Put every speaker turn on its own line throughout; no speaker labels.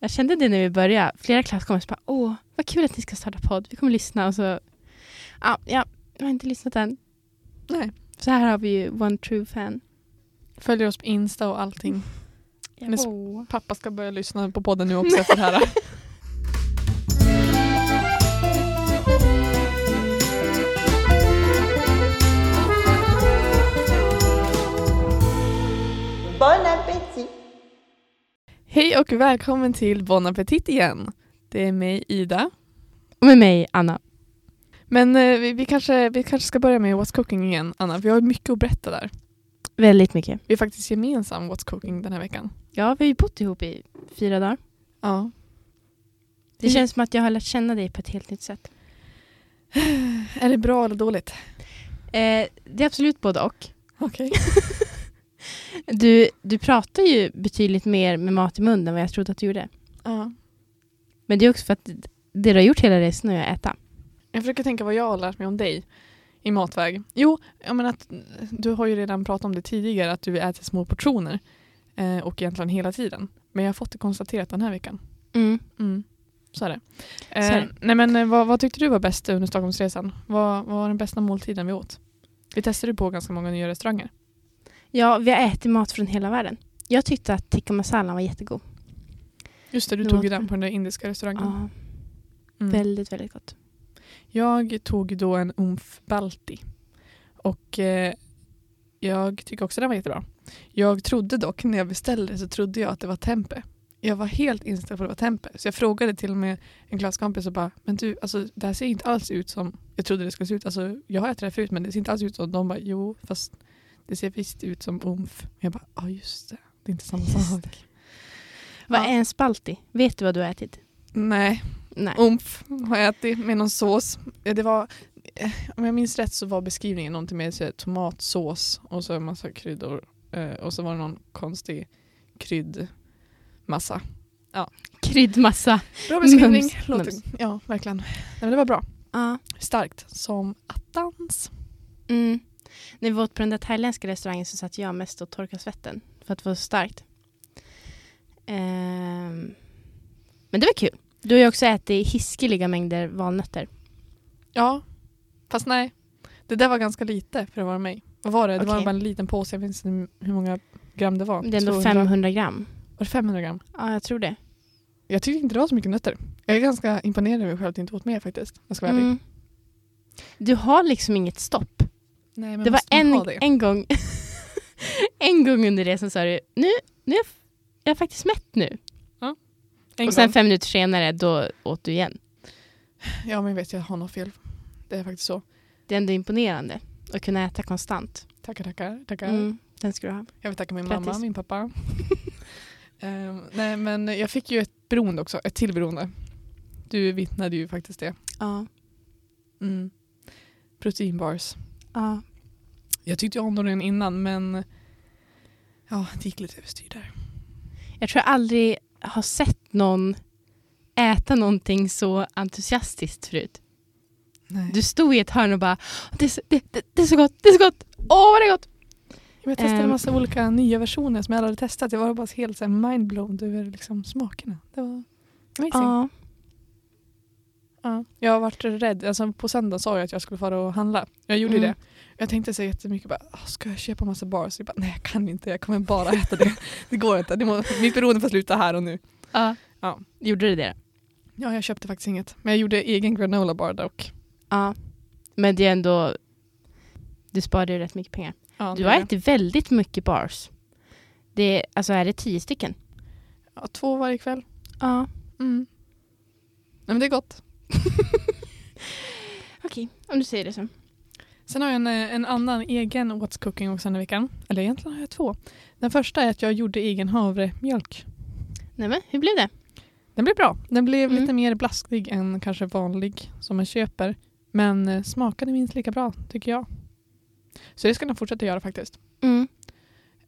Jag kände det när vi började. Flera klasskompisar bara, åh, vad kul att ni ska starta podd. Vi kommer lyssna och så, ja, ja jag har inte lyssnat än.
Nej.
Så här har vi ju One True Fan.
Följer oss på Insta och allting. Men s-
Åh.
Pappa ska börja lyssna på podden nu också efter det här.
Bon appétit!
Hej och välkommen till Bon Appetit igen. Det är mig, Ida.
Och med mig, Anna.
Men eh, vi, vi, kanske, vi kanske ska börja med What's Cooking igen, Anna. Vi har mycket att berätta där.
Väldigt mycket.
Vi är faktiskt gemensam What's Cooking den här veckan.
Ja, vi har ju bott ihop i fyra dagar.
Ja.
Det
Mm.
känns som att jag har lärt känna dig på ett helt nytt sätt.
Är det bra eller dåligt?
Eh, det är absolut både och.
Okej.
Du, du pratar ju betydligt mer med mat i munnen än vad jag trodde att du gjorde.
Ja.
Men det är också för att det du har gjort hela resan är att äta.
Jag försöker tänka vad jag har lärt mig om dig i matväg. Jo, jag menar att du har ju redan pratat om det tidigare att du äter små portioner eh, och egentligen hela tiden. Men jag har fått det konstaterat den här veckan. Mm. Så är det. Eh,
Så är det.
Nej, men, eh, vad, vad tyckte du var bäst under Stockholmsresan? Vad, vad var den bästa måltiden vi åt? Vi testade ju på ganska många nya restauranger.
Ja, vi har ätit mat från hela världen. Jag tyckte att tikka masala var jättegod.
Just det, Ah, du
Det
tog
var-
ju den på den där indiska restaurangen.
Ja,
Mm.
väldigt, väldigt gott.
Jag tog då en umf balti. Och eh, jag tycker också den var jättebra. Jag trodde dock, när jag beställde så trodde jag att det var tempe. Jag var helt inställd på att det var tempe. Så jag frågade till och med en klasskompis och bara, men du, alltså, det här ser inte alls ut som jag trodde det skulle se ut. Alltså, jag har ätit det här förut men det ser inte alls ut som. De bara, jo fast det ser visst ut som umf. Jag bara, ja just det. Det är inte samma
Just
sak.
Vad
Ja.
är en spalti? Vet du vad du har ätit?
Nej,
Nej.
Umf har jag ätit med någon sås. Eh, Det var, eh, om jag minns rätt så var beskrivningen någonting med så här tomatsås och så en massa kryddor eh, och så var det någon konstig kryddmassa.
Kryddmassa.
Bra beskrivning.
Mums,
Låter,
mums.
ja, verkligen. Nej, men det var bra.
Ja.
Starkt som attans.
Mm. När vi åt på den där thailändska restaurangen så satt jag mest och torkade svetten för att det var så starkt. Ehm. Men det var kul. Du har ju också ätit hiskeliga mängder valnötter.
Ja, fast nej. Det där var ganska lite för att vara mig. Vad var det? Det var
Okej.
bara en liten påse. Jag minns inte hur många gram det var.
Det är ändå
200.
500 gram.
Var det 500 gram?
Ja, jag tror det.
Jag tyckte inte det var så mycket nötter. Jag är ganska imponerad över att jag själv inte åt mer faktiskt. Jag ska vara ärlig.
Mm. Du har liksom inget stopp.
Nej, men
det var
måste man ha
en,
det?
en gång En gång under resan sa du nu, nu är jag, f- jag är faktiskt mätt nu.
En
och sen
gång.
fem minuter senare då åt du igen.
Ja, men jag vet, jag har något fel. Det är faktiskt så.
Det är ändå imponerande att kunna äta konstant.
Tackar, tackar, tackar.
Mm, den ska du ha.
Jag vill tacka min mamma,
Grattis.
min pappa. Ehm, nej, men jag fick ju ett beroende också, ett till beroende. Du vittnade ju faktiskt det.
Ja.
Mm. Proteinbars.
ja.
Jag tyckte ju om dem redan innan, men ja, det gick lite överstyr där.
Jag tror jag aldrig har sett någon äta någonting så entusiastiskt förut.
Nej.
Du stod i ett hörn och bara det är så, det, det, det är så gott, det är så gott, åh vad det är gott.
jag testade en
Ehm.
massa olika nya versioner som jag aldrig hade testat. Jag var bara helt så här mindblown över liksom, smakerna. Det var amazing.
Ja.
Ja. Jag har varit rädd. Alltså, på söndagen sa jag att jag skulle fara och handla. Jag gjorde
Mm.
det. Jag tänkte så jättemycket bara, "Ah, ska jag köpa massa bars? Jag bara, nej jag kan inte, jag kommer bara äta det. Det går inte. Det må, mitt beroende får sluta här och nu.
ja.
Ja.
Gjorde du det?
Ja, jag köpte faktiskt inget. Men jag gjorde egen granola bar dock.
Ja. Men det är ändå, du sparade ju rätt mycket pengar.
Ja,
Du
det
har
gjorde
ätit väldigt mycket bars. Det är, alltså är det tio stycken?
jag. Ja, två varje kväll.
Ja.
Mm. Nej men det är gott.
Okej, om du säger det så.
Sen har jag en, eh, en annan egen What's Cooking också den här veckan. Eller egentligen har jag två. Den första är att jag gjorde egen havremjölk.
Nej men, hur blev det?
Den blev bra. Den blev
Mm.
lite mer blaskig än kanske vanlig som man köper. Men eh, smakade minst lika bra tycker jag. Så det ska den fortsätta göra faktiskt.
Mm.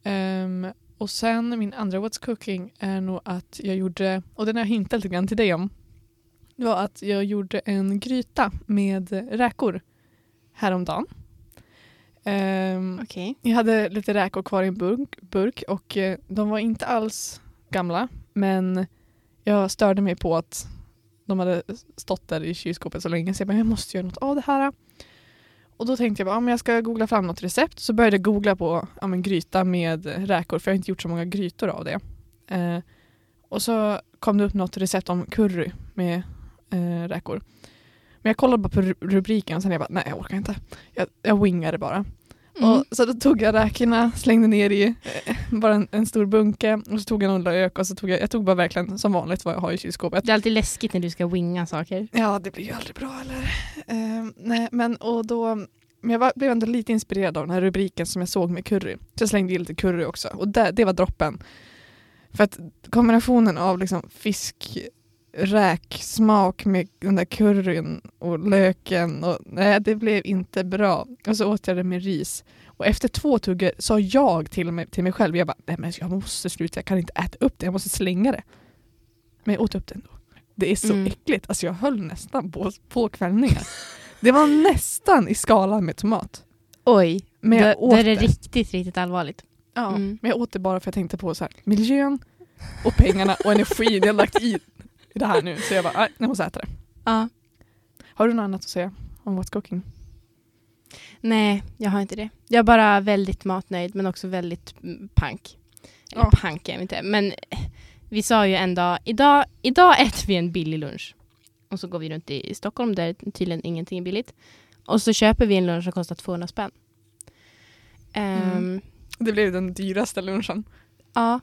Ehm, och sen min andra What's Cooking är nog att jag gjorde, och den har jag hintat lite grann till dig om. Det var att jag gjorde en gryta med räkor häromdagen. Um,
Okej.
jag hade lite räkor kvar i en burk, burk och eh, de var inte alls gamla men Jag störde mig på att de hade stått där i kylskåpet så länge så jag bara, jag måste göra något av det här. Och då tänkte jag bara, ja, men jag ska googla fram något recept. Så började jag googla på ja, men gryta med räkor för jag har inte gjort så många grytor av det. Eh, och så kom det upp något recept om curry med eh, räkor. Men jag kollade bara på ru- rubriken och sen jag bara, nej jag orkar inte. Jag, jag wingade bara.
Mm.
Och så då tog jag räkorna, slängde ner i eh, bara en, en stor bunke och så tog jag någon lök och så tog jag, jag tog bara verkligen som vanligt vad jag har i kylskåpet.
Det är alltid läskigt när du ska winga saker.
Ja, det blir ju aldrig bra eller? Eh, nej, men och då, men jag var, blev ändå lite inspirerad av den här rubriken som jag såg med curry. Så jag slängde i lite curry också och det, det var droppen. För att kombinationen av liksom fisk, räksmak med den där curryn och löken och nej, det blev inte bra. Och så åt jag det med ris. Och efter två tuggor sa jag till mig, till mig själv, jag bara, nej men jag måste sluta, jag kan inte äta upp det, jag måste slänga det. Men jag åt upp det ändå. Det är så
Mm.
äckligt, alltså jag höll nästan på, på kvällningar. det var nästan i skala med tomat.
Oj,
Men jag
då,
åt
då är det
det.
riktigt, riktigt allvarligt.
Ja,
Mm.
men jag åt det bara för jag tänkte på så här, miljön och pengarna och energin jag lagt i i det här nu. Så jag bara, nej, jag måste äta det.
Ja.
Har du något annat att säga om What's Cooking?
Nej, jag har inte det. Jag är bara väldigt matnöjd men också väldigt mm, pank. Eller
Ja.
pank är jag inte, men eh, vi sa ju en dag, idag, idag äter vi en billig lunch. Och så går vi runt i Stockholm där tydligen ingenting är billigt. Och så köper vi en lunch som kostar 200 spänn. Ehm,
Mm. Det blev den dyraste lunchen.
Ja,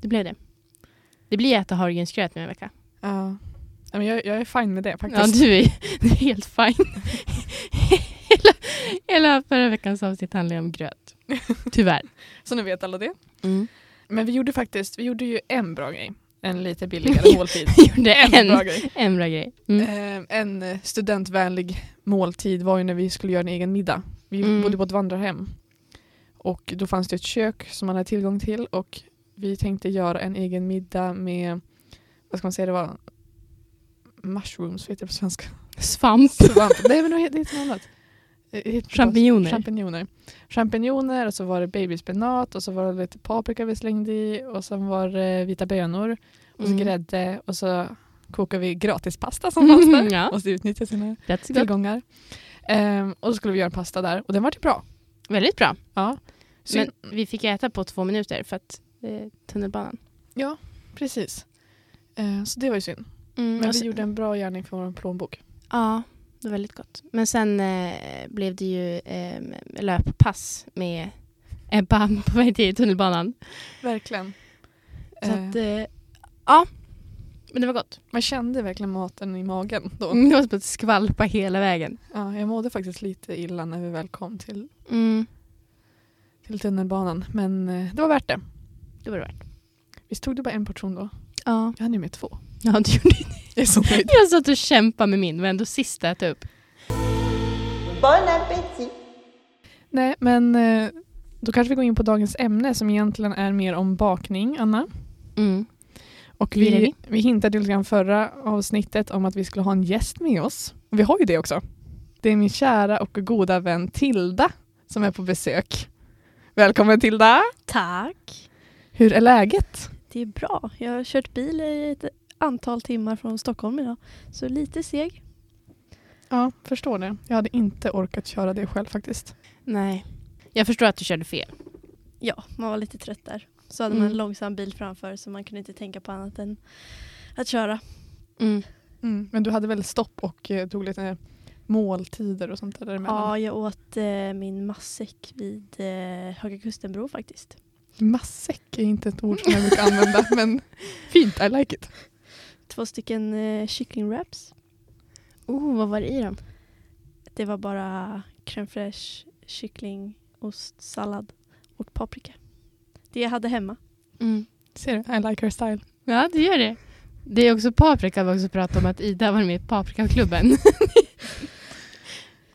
det blev det. Det blir äta havregrynsgröt nu en vecka.
Ja. Men jag, jag är fin med det
Ja,
faktiskt.
du är, du är helt fin. hela, hela förra veckans avsnitt handlade om gröt. Tyvärr.
Så nu vet alla det.
Mm.
Men vi gjorde faktiskt, vi gjorde ju en bra grej. En lite billigare måltid.
Gjorde
En,
en,
bra grej.
en bra grej. Mm.
Eh, en eh, studentvänlig måltid var ju när vi skulle göra en egen middag. Vi
Mm.
bodde på ett vandrarhem. Och då fanns det ett kök som man hade tillgång till och vi tänkte göra en egen middag med, vad ska man säga det var? Mushrooms heter det på svenska.
Svamp.
Svamp. Nej men det heter det heter något annat. Eh, det heter på-
Champinjoner.
Champinjoner. Champinjoner och så var det babyspenat och så var det lite paprika vi slängde i och sen var det vita bönor och så
Mm.
grädde och så kokade vi gratispasta som
Mm,
fanns där.
ja.
Måste utnyttja sina
Rätt så gott.
tillgångar. Ehm, och så skulle vi göra en pasta där och den var ju bra.
Väldigt bra.
Ja. Så,
Men vi fick äta på två minuter för att eh, tunnelbanan.
ja, precis. Ehm, så det var ju synd.
Mm,
Men
och
vi
sen-
gjorde en bra gärning för vår plånbok.
Ja, det var väldigt gott. Men sen eh, blev det ju eh, löppass med Ebba på väg till tunnelbanan.
Verkligen.
Så
Ehm,
att, eh, ja. Men det var gott.
man kände verkligen maten i magen då.
Det var som att skvalpa hela vägen.
Ja, jag mådde faktiskt lite illa när vi väl kom till,
Mm,
till tunnelbanan. Men eh, det var värt det.
det var det värt.
Visst tog du bara en portion då?
Ja.
Jag hann ju med två.
ja, du gjorde det.
Jag är så nöjd.
Jag satt och kämpade med min, men ändå sista att äta upp.
Bon appétit
Nej, men eh, då kanske vi går in på dagens ämne som egentligen är mer om bakning, Anna.
Mm.
Och
Gillar
vi,
vi.
vi hintade ju lite grann förra avsnittet om att vi skulle ha en gäst med oss. Och vi har ju det också. Det är min kära och goda vän Tilda som är på besök. Välkommen Tilda!
Tack.
Hur är läget?
Det är bra. Jag har kört bil i ett antal timmar från Stockholm idag. Så lite seg.
Ja, förstår det. Jag hade inte orkat köra det själv faktiskt.
Nej. Jag förstår att du körde fel.
Ja, man var lite trött där. Så hade man
Mm.
en långsam bil framför så man kunde inte tänka på annat än att köra.
Mm.
Men du hade väl stopp och eh, tog lite måltider och sånt där däremellan?
Ja, jag åt eh, min matsäck vid eh, Höga Kustenbro faktiskt.
Massäck är inte ett ord som jag brukar använda men fint, I like it.
Två stycken eh, kycklingwraps.
Oh, vad var det i dem?
Det var bara crème fraîche, kyckling, ost, sallad och paprika. Det jag hade hemma.
Mm.
Ser du? I like her style.
Ja, det gör det. Det är också paprika, vi har också pratat om att Ida var med i paprikaklubben.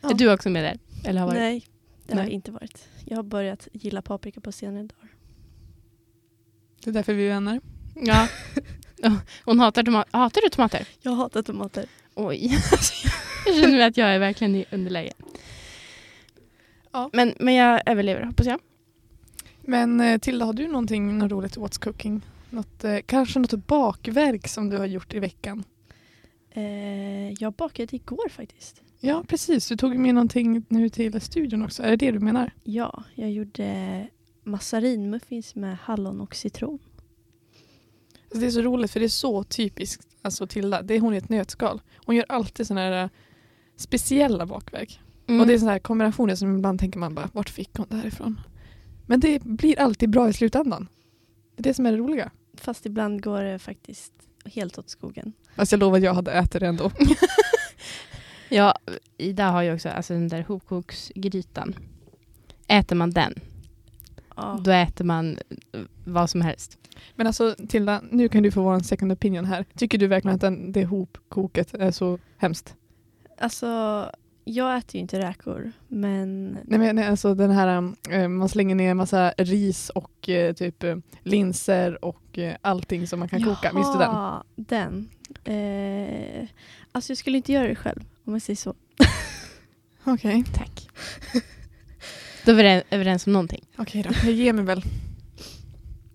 Ja.
Är du också med där? Eller har varit?
Nej, det har
Nej.
jag inte varit. Jag har börjat gilla paprika på senare dagar.
Det är därför vi är vänner.
Ja. Hon hatar tomater. Hatar du tomater?
Jag hatar tomater.
Oj. jag känner att jag är verkligen i underläge.
Ja.
Men, men jag överlever hoppas jag.
Men eh, Tilda, har du någonting något roligt What's Cooking Något, eh, kanske något bakverk som du har gjort i veckan.
Eh, jag bakade igår faktiskt.
Ja, precis. Du tog med någonting nu till studion också. Är det det du menar?
Ja, jag gjorde massarinmuffins med hallon och citron.
Alltså, det är så roligt för det är så typiskt alltså, Tilda. Det är hon i ett nötskal. Hon gör alltid sådana här eh, speciella bakverk.
Mm.
Och det är sådana här kombinationer som ibland tänker man bara, vart fick hon det här ifrån? Men det blir alltid bra i slutändan. Det är det som är det roliga.
Fast ibland går det faktiskt helt åt skogen.
Fast jag lovar att jag hade ätit det ändå.
Ja, Ida har ju också alltså den där hopkoksgrytan. Äter man den,
Ja.
då äter man eh, vad som helst.
Men alltså Tilda, nu kan du få vara en second opinion här. Tycker du verkligen att den, det hopkoket är så hemskt?
Alltså, jag äter ju inte räkor, men
Nej men nej, alltså den här, eh, man slänger ner massa ris och eh, typ eh, linser och eh, allting som man kan koka. Minns du den?
Jaha, den. Eh, alltså jag skulle inte göra det själv, om jag säger så.
Okej.
Tack. Då är vi överens- överens om någonting.
Okej då, jag ger mig väl.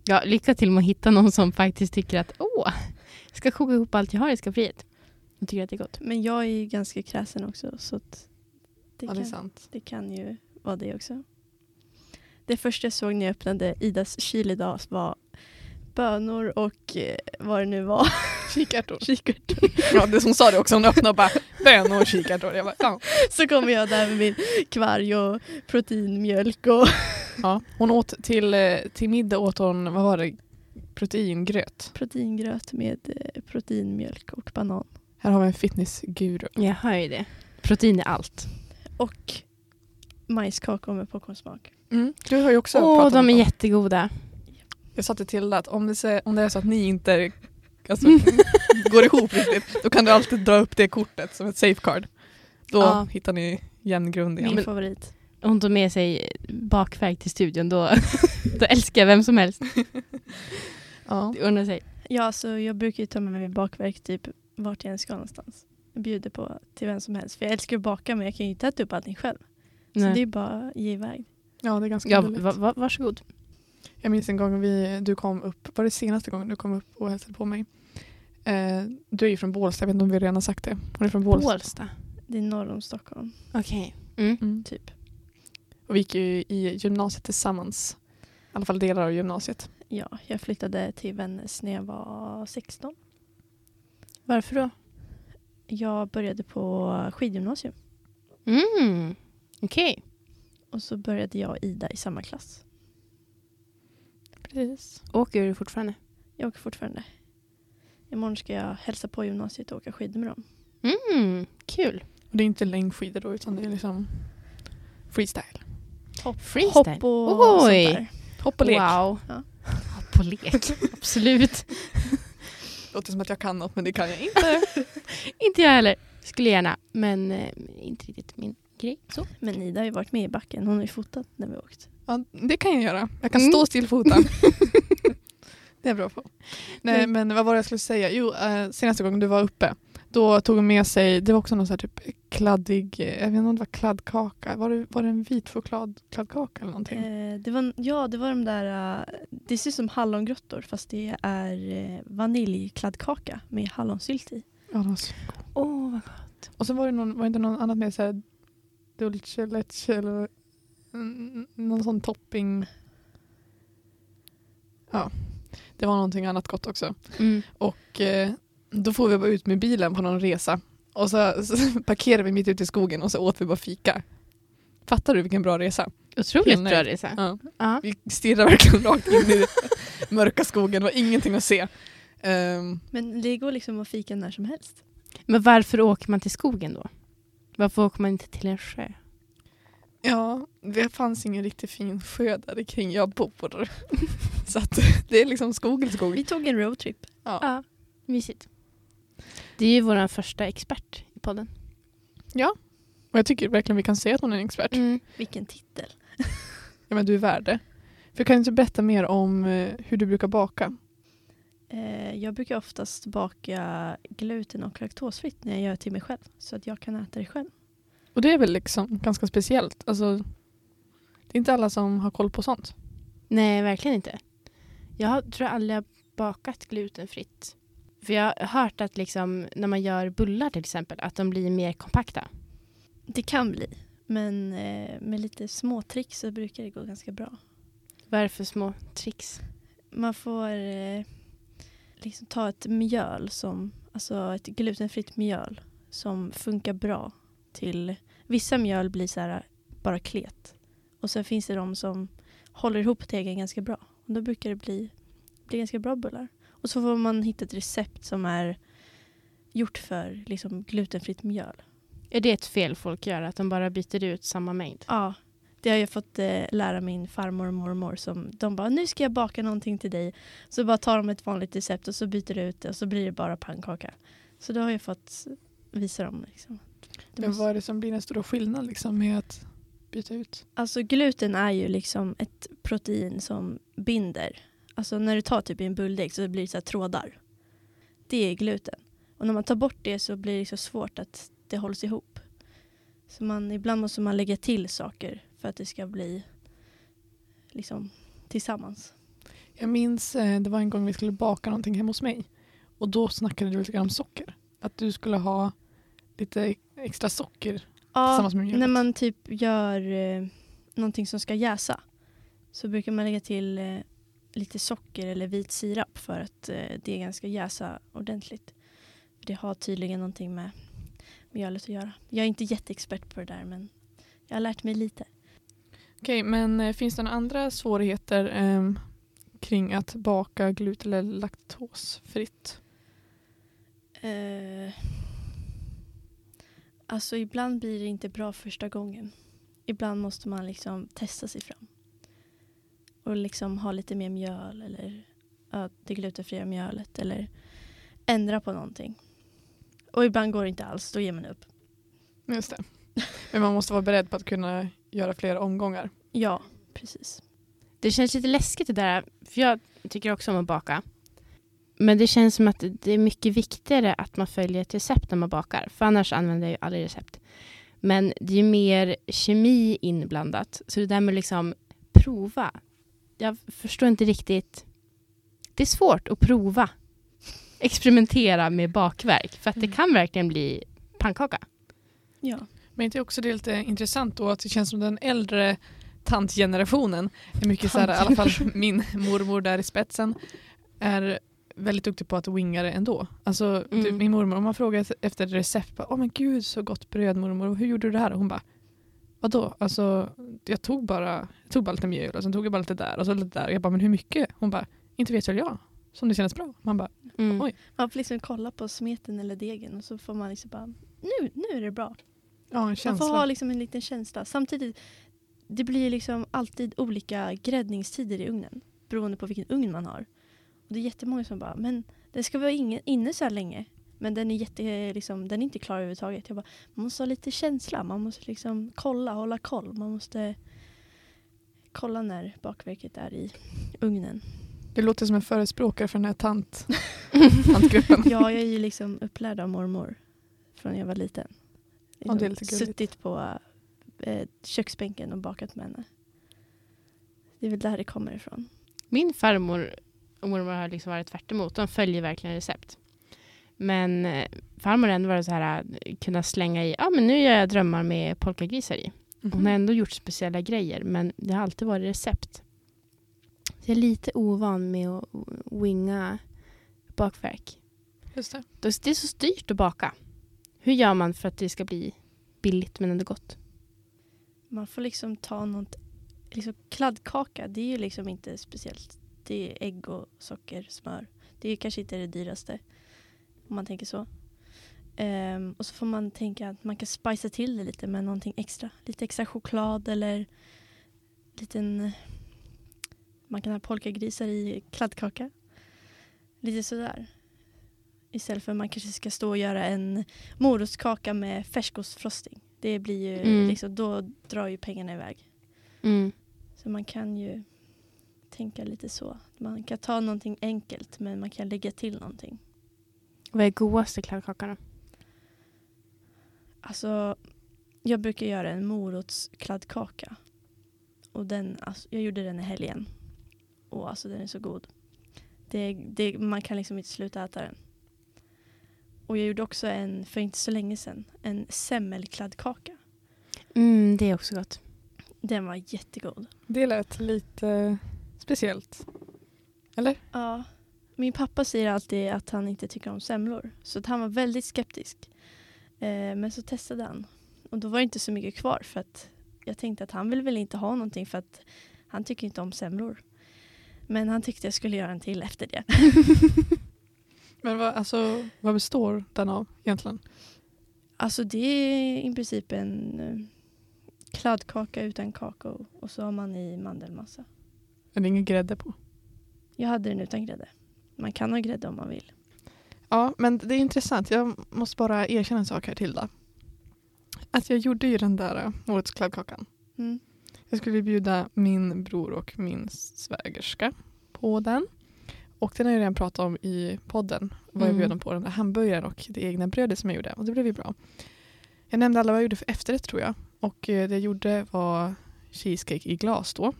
Ja, lycka till med att hitta någon som faktiskt tycker att åh, jag ska koka ihop allt jag har i skafferiet. Jag tycker att det är gott.
Men jag är ju ganska kräsen också, så att det,
Ja, det är
kan,
sant.
det kan ju vara det också. Det första jag såg när jag öppnade Idas kyl idag var bönor och eh, vad det nu var.
Kikärtor.
Kikärtor.
Ja, det som sa det också, hon öppnade och bara bönor och kikärtor. Jag bara, ja.
Så kommer jag där med min kvarg och proteinmjölk och
ja. Hon åt till, eh, till middag åt hon, vad var det, proteingröt.
proteingröt med eh, proteinmjölk och banan.
Här har vi en fitnessguru.
Jag hör ju det. Protein är allt.
Och majskakor med popcornsmak.
Mm, Du har ju också
Åh,
pratat om
de är
dem.
jättegoda.
Jag sa till Tilda att om det, ser, om det är så att ni inte alltså, går ihop riktigt, då kan du alltid dra upp det kortet som ett safe card. Då
Ja.
hittar ni jämn grund igen.
Min
men-
favorit.
Hon tog med sig bakverk till studion, då, då älskar jag vem som helst.
ja.
Det ordnar sig.
Ja, så jag brukar ju ta med mig bakverk typ vart jag än ska någonstans. Jag bjuder på till vem som helst. För jag älskar att baka men jag kan ju inte äta upp allting själv. Så det är
Nej.
bara att ge iväg.
ja, det är ganska
Ja,
roligt.
va, va, varsågod.
Jag minns en gång vi, du kom upp, var det senaste gången du kom upp och hälsade på mig? Eh, du är ju från Bålsta, jag vet inte om vi redan har sagt det. Hon är från Bålsta.
Bålsta.
Det är norr om Stockholm,
Okej. Mm.
Mm.
typ.
Och vi gick ju i gymnasiet tillsammans. I alla fall delar av gymnasiet.
Ja, jag flyttade till Vännäs när jag var 16.
Varför då?
Jag började på skidgymnasium
Mm. Okej.
och så började jag och Ida i samma klass.
Precis.
Åker du fortfarande?
Jag åker fortfarande. Imorgon ska jag hälsa på gymnasiet och åka skidor med dem.
Mm. Kul.
Och det är inte längdskidor då, utan det är liksom freestyle.
Freestyle.
Hopp och sånt
Oj.
där.
Hopp och lek.
Wow.
Ja.
Hopp och lek. Absolut.
Låter som att jag kan något men det kan jag inte.
inte jag heller. Skulle gärna, men eh, inte riktigt min grej. Så.
Men Ida har ju varit med i backen. Hon har ju fotat när vi har åkt.
ja, det kan jag göra. Jag kan
Mm.
stå stillfotad. det är jag bra på. Nej men vad var det jag skulle säga? Jo eh, senaste gången du var uppe då tog hon med sig, det var också någon sån här typ kladdig, eh, jag vet inte om det var kladdkaka, var det, var det en vit choklad, kladdkaka eller någonting?
Eh, det var, ja, det var de där... eh, det ser ut som hallongrottor fast det är eh, vaniljkladdkaka med hallonsylt i.
Ja, det var så-
Åh, vad gott.
Och så var det, någon, var det inte någon annat med såhär dulce leche eller mm, någon sån topping. Ja, det var någonting annat gott också.
Mm.
Och eh, då får vi bara ut med bilen på någon resa. Och så, så parkerar vi mitt ute i skogen och så åt vi bara fika. Fattar du vilken bra resa?
Otroligt
Helt nöjd.
bra resa.
Ja.
Ja.
Vi stirrar verkligen rakt in i den mörka skogen, det var ingenting att se. Ehm,
Men det går liksom att fika när som helst.
Men varför åker man till skogen då? Varför åker man inte till en sjö?
Ja, det fanns ingen riktigt fin sjö där kring jag bor. Så att det är liksom skogens skog.
Vi tog en roadtrip.
Ja.
Mysigt. Det är ju vår första expert i podden.
Och jag tycker verkligen vi kan säga att hon är en expert.
Mm.
Vilken titel.
Ja, men du är värd det. För kan du inte berätta mer om eh, hur du brukar baka?
Eh, jag brukar oftast baka gluten och laktosfritt när jag gör till mig själv. Så att jag kan äta det själv.
Och det är väl liksom ganska speciellt. Alltså, det är inte alla som har koll på sånt.
Nej, verkligen inte. Jag har- tror jag aldrig har bakat glutenfritt? För jag har hört att liksom, när man gör bullar till exempel, att de blir mer kompakta.
Det kan bli. Men eh, med lite små tricks så brukar det gå ganska bra.
Vad är det för små tricks?
Man får eh, liksom ta ett mjöl, som, alltså ett glutenfritt mjöl som funkar bra till... Vissa mjöl blir så här bara klet. Och sen finns det de som håller ihop tegen ganska bra. Och då brukar det bli, bli ganska bra bullar. Och så får man hitta ett recept som är gjort för liksom, glutenfritt mjöl.
Är det ett fel folk gör, att de bara byter ut samma mängd?
Ja, det har jag fått eh, lära min farmor och mormor. Som, de bara, nu ska jag baka någonting till dig. Så bara tar de ett vanligt recept och så byter du ut det och så blir det bara pannkaka. Så då har jag fått visa dem. Liksom. Det
Men
måste-
vad är det som blir den stora skillnaden liksom, med att byta ut?
Alltså gluten är ju liksom ett protein som binder. Alltså när du tar typ i en bulldeg så blir det så här trådar. Det är gluten. Och när man tar bort det så blir det så svårt att det hålls ihop. Så man, ibland måste man lägga till saker för att det ska bli liksom tillsammans.
Jag minns eh, det var en gång vi skulle baka någonting hemma hos mig. Och då snackade du lite grann om socker. Att du skulle ha lite extra socker
Ja,
tillsammans med mjölet.
när man typ gör eh, någonting som ska jäsa så brukar man lägga till eh, lite socker eller vit sirap för att eh, det ganska jäsa ordentligt. För det har tydligen någonting med mjölet att göra. Jag är inte jätteexpert på det där men jag har lärt mig lite.
Okej, men eh, finns det några andra svårigheter ehm, kring att baka gluten eller laktosfritt?
Eh, alltså ibland blir det inte bra första gången. Ibland måste man liksom testa sig fram. Och liksom ha lite mer mjöl eller ja, det glutenfria mjölet eller ändra på någonting. Och ibland går det inte alls, då ger man upp.
Just det. Men man måste vara beredd på att kunna göra flera omgångar.
Ja, precis.
Det känns lite läskigt det där, för jag tycker också om att baka. Men det känns som att det är mycket viktigare att man följer ett recept när man bakar, för annars använder jag ju aldrig recept. Men det är ju mer kemi inblandat, så det där med liksom prova. Jag förstår inte riktigt. Det är svårt att prova. Experimentera med bakverk, för att det
Mm.
kan verkligen bli pannkaka.
Ja.
Men inte också det är lite intressant då att det känns som den äldre tantgenerationen är mycket så här, i alla fall min mormor där i spetsen är väldigt duktig på att winga det ändå. Alltså
Mm.
typ min mormor, om man frågar efter recept, bara, åh men gud så gott bröd mormor, hur gjorde du det här? Och hon bara, vadå? Alltså jag tog bara, jag tog bara lite mjöl och sen tog jag bara lite där och så lite där. Och jag bara, men hur mycket? Hon bara, inte vet väl jag. Som det kändes bra. Man bara,
Mm.
Oj.
Man får liksom kolla på smeten eller degen och så får man liksom bara, nu, nu är det bra.
ja en
Man får ha
känsla.
liksom en liten känsla. Samtidigt, det blir liksom alltid olika gräddningstider i ugnen. Beroende på vilken ugn man har. Och det är jättemånga som bara, men den ska vara inne, inne så här länge. Men den är, jätte, liksom, den är inte klar överhuvudtaget. Jag bara, man måste ha lite känsla. Man måste liksom kolla, hålla koll. Man måste kolla när bakverket är i ugnen.
Det låter som en förespråkare för den här tant, tantgruppen.
Ja, jag är ju liksom upplärd av mormor från jag var liten.
Ja, det är lite gulligt.
suttit på eh, köksbänken och bakat med henne. Det är väl där det kommer ifrån.
Min farmor och mormor har liksom varit tvärt emot. De följer verkligen recept. Men eh, farmor har ändå varit så här, eh, kunna slänga i, ja ah, men nu gör jag drömmar med polkagrisar i. Hon har ändå gjort speciella grejer, men det har alltid varit recept. Så jag är lite ovan med att winga bakverk.
Just det.
Det är- det är så styrt att baka. Hur gör man för att det ska bli billigt men ändå gott?
Man får liksom ta något, liksom kladdkaka det är ju liksom inte speciellt. Det är ägg och socker, smör. Det är ju kanske inte det dyraste. Om man tänker så. Ehm, och så får man tänka att man kan spicea till det lite med någonting extra. Lite extra choklad eller liten... Man kan ha polkagrisar i kladdkaka. Lite sådär. Istället för att man kanske ska stå och göra en morotskaka med färskostfrosting. Det blir ju
Mm.
liksom, då drar ju pengarna iväg.
Mm.
Så man kan ju tänka lite så. Man kan ta någonting enkelt men man kan lägga till någonting.
Vad är godaste kladdkakan då?
Alltså, jag brukar göra en morotskladdkaka. Och den, alltså, jag gjorde den i helgen. Och alltså den är så god. Det, det, man kan liksom inte sluta äta den. Och jag gjorde också en, för inte så länge sedan, en semmelkladdkaka.
Mm, det är också gott.
Den var jättegod.
Det lät lite speciellt.
Ja. Min pappa säger alltid att han inte tycker om semlor. Så att han var väldigt skeptisk. Eh, men så testade han. Och då var det inte så mycket kvar för att jag tänkte att han vill väl inte ha någonting för att han tycker inte om semlor. Men han tyckte jag skulle göra en till efter det.
Men vad, alltså, vad består den av egentligen?
Alltså det är i princip en eh, kladdkaka utan kakao och så har man i mandelmassa.
Är det ingen grädde på?
Jag hade den utan grädde. Man kan ha grädde om man vill.
Ja, men det är intressant. Jag måste bara erkänna en sak här Tilda. Att jag gjorde ju den där eh, årets kladdkakan.
Mm.
Jag skulle bjuda min bror och min svägerska på den. Och den har jag redan pratat om i podden. Vad jag
Mm.
bjöd dem på, den där hamburgaren och det egna brödet som jag gjorde. Och det blev ju bra. Jag nämnde alla vad jag gjorde för efterrätt tror jag. Och eh, det jag gjorde var cheesecake i glas då.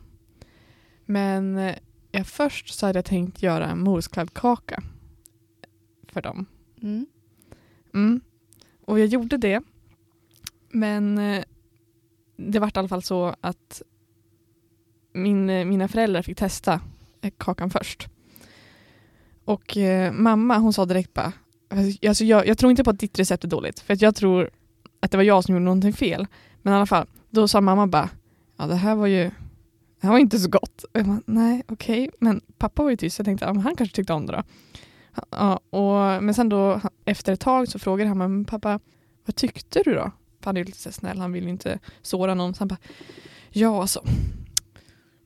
Men eh, jag först så hade jag tänkt göra en morotskladdkaka för dem.
Mm.
Mm. Och jag gjorde det. Men eh, det var i alla fall så att min, eh, mina föräldrar fick testa eh, kakan först. Och eh, mamma hon sa direkt bara, alltså, alltså, jag, jag tror inte på att ditt recept är dåligt för att jag tror att det var jag som gjorde någonting fel. Men i alla fall, då sa mamma bara, ja det här var ju det här var inte så gott. Och jag bara, Nej, okej. Men pappa var ju tyst så jag tänkte, ja, men han kanske tyckte om det då. Ja, och, men sen då efter ett tag så frågade han mig, men pappa, vad tyckte du då? För han är ju lite så här snäll, han vill ju inte såra någon. Så han bara, ja alltså,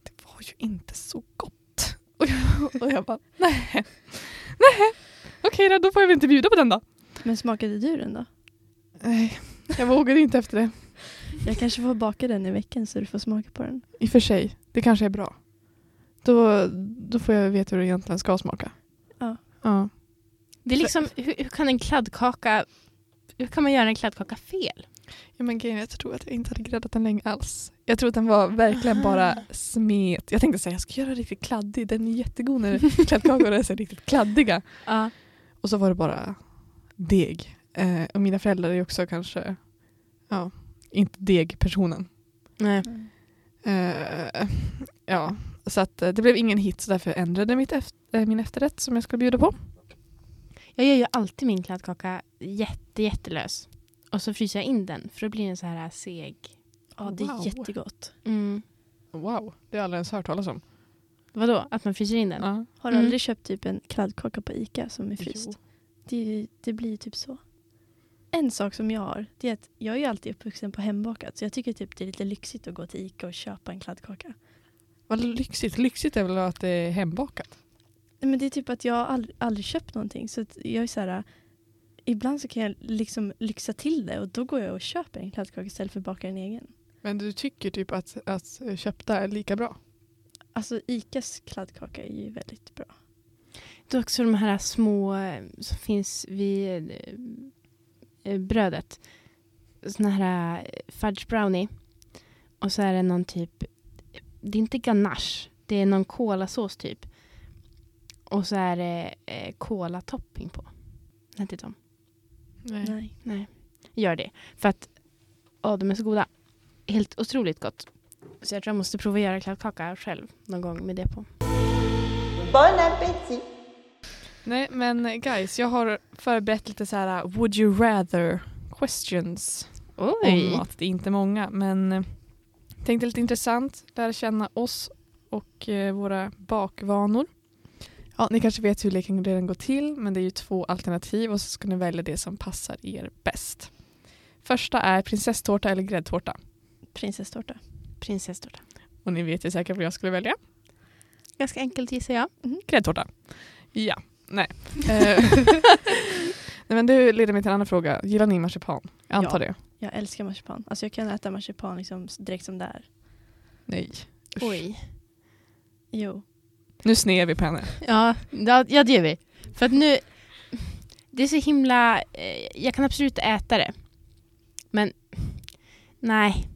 det var ju inte så gott. Och jag, och jag bara, nej, nej, okej då, då får jag väl inte bjuda på den då.
Men smakade du den då?
Nej, jag vågade inte efter det.
Jag kanske får baka den i veckan så du får smaka på den.
I och för sig, det kanske är bra. Då, då får jag veta hur det egentligen ska smaka.
Ja.
ja.
Det är liksom, hur, hur kan en kladdkaka... Hur kan man göra en kladdkaka fel?
Ja, men grejen, är att jag tror att jag inte hade gräddat den länge alls. Jag tror att den var verkligen
Aha.
bara smet. Jag tänkte säga jag ska göra riktigt kladdig. Den är jättegod när kladdkakor är så här riktigt kladdiga.
Ja.
Och så var det bara deg. Eh, och mina föräldrar är också kanske, ja, inte degpersonen.
Nej.
Mm. Eh, ja, så att eh, det blev ingen hit så därför ändrade jag mitt efter, eh, min efterrätt som jag skulle bjuda på.
Jag gör ju alltid min kladdkaka jätte, jättelös. Och så fryser jag in den för då blir den så här seg.
Ja, det är
Wow.
jättegott.
Mm.
Wow, det har jag aldrig ens hört talas om.
Vadå? Att man fryser in den?
Ja.
Har du
Mm.
aldrig köpt typ en kladdkaka på Ica som är fryst?
Jo.
Det, det blir ju typ så. En sak som jag har, det är att jag är ju alltid uppvuxen på hembakat så jag tycker typ det är lite lyxigt att gå till Ica och köpa en kladdkaka.
Vad lyxigt. Lyxigt är väl att det är hembakat.
Nej, Men det är typ att jag har aldrig, aldrig köpt någonting så att jag är så här, ibland så kan jag liksom lyxa till det och då går jag och köper en kladdkaka istället för att baka en egen.
Men du tycker typ att, att köpta är lika bra?
Alltså Icas kladdkaka är ju väldigt bra.
Det är också de här små eh, som finns vid eh, eh, brödet. Såna här eh, fudge brownie. Och så är det någon typ, det är inte ganache, det är någon kolasås typ. Och så är det eh, kolatopping på. Nej, inte de.
Nej.
Nej.
Nej, gör det. För att, ja de är så goda. Helt otroligt gott. Så jag tror jag måste prova att göra kladdkaka själv någon gång med det på.
Bon appétit.
Nej men guys, jag har förberett lite så här uh, would you rather questions om
Oj!
mat. Det är inte många men eh, tänkte lite intressant, lära känna oss och eh, våra bakvanor. Ja, ni kanske vet hur leken redan går till men det är ju två alternativ och så ska ni välja det som passar er bäst. Första är prinsesstårta eller gräddtårta.
Prinsesstårta.
Prinsesstårta.
Och ni vet ju säkert vad jag skulle välja.
Ganska enkelt gissar jag.
Mm.
Gräddtårta. Ja. Nej. Eh, Nej men det leder mig till en annan fråga. Gillar ni marsipan? Jag antar det.
Jag älskar marsipan. Alltså jag kan äta marsipan liksom direkt som det är.
Nej.
Oj.
Jo.
Mm. Nu snear vi på henne.
Ja, ja, ja det gör vi. För att nu, det är så himla, eh, jag kan absolut äta det. Men nej,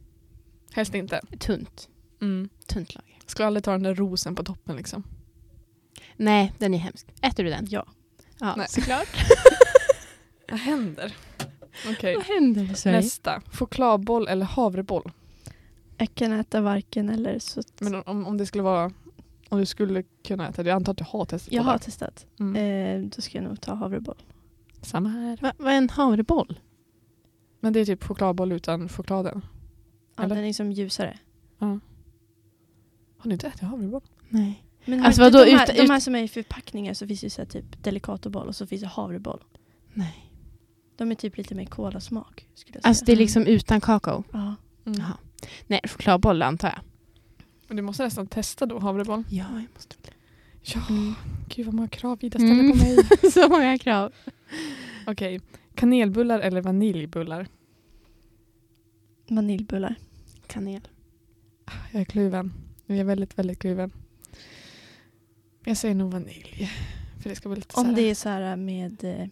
Helst inte.
tunt.
Mm.
Tunt lager.
Skulle aldrig ta den där rosen på toppen liksom.
Nej, den är hemsk. Äter du den?
Ja.
Ja.
Nej.
såklart.
Vad händer? Okej,
Vad händer i Sverige?
nästa. Chokladboll eller havreboll?
Jag kan äta varken eller. Så att-
Men om, om det skulle vara... Om du skulle kunna äta det. Jag antar att du har testat
jag
båda.
har testat.
Mm.
Eh, då ska jag nog ta havreboll.
Samma här.
Va- Vad är en havreboll?
Men det är typ chokladboll utan chokladen.
Ja,
Eller?
den är liksom ljusare.
Har ni inte ätit havreboll?
Nej.
Men
Alltså
har inte
vadå,
de, här,
ut-
de här som är i förpackningar så finns det ju så här typ Delicatoboll och så finns det havreboll.
Nej.
De är typ lite mer kolasmak skulle jag säga.
Alltså det är liksom utan kakao?
ja.
Mm.
Jaha. Nej, chokladboll antar jag.
Men du måste nästan testa då havreboll.
Ja, jag måste
Ja,
Mm.
gud vad många krav Ida ställer
Mm.
på mig.
Så många krav.
Okej, kanelbullar eller vaniljbullar?
Vaniljbullar.
Kanel.
Jag är kluven. Jag är väldigt, väldigt kluven. Jag säger nog vanilj. För det ska vara lite så
Om
här-
det är så här med eh,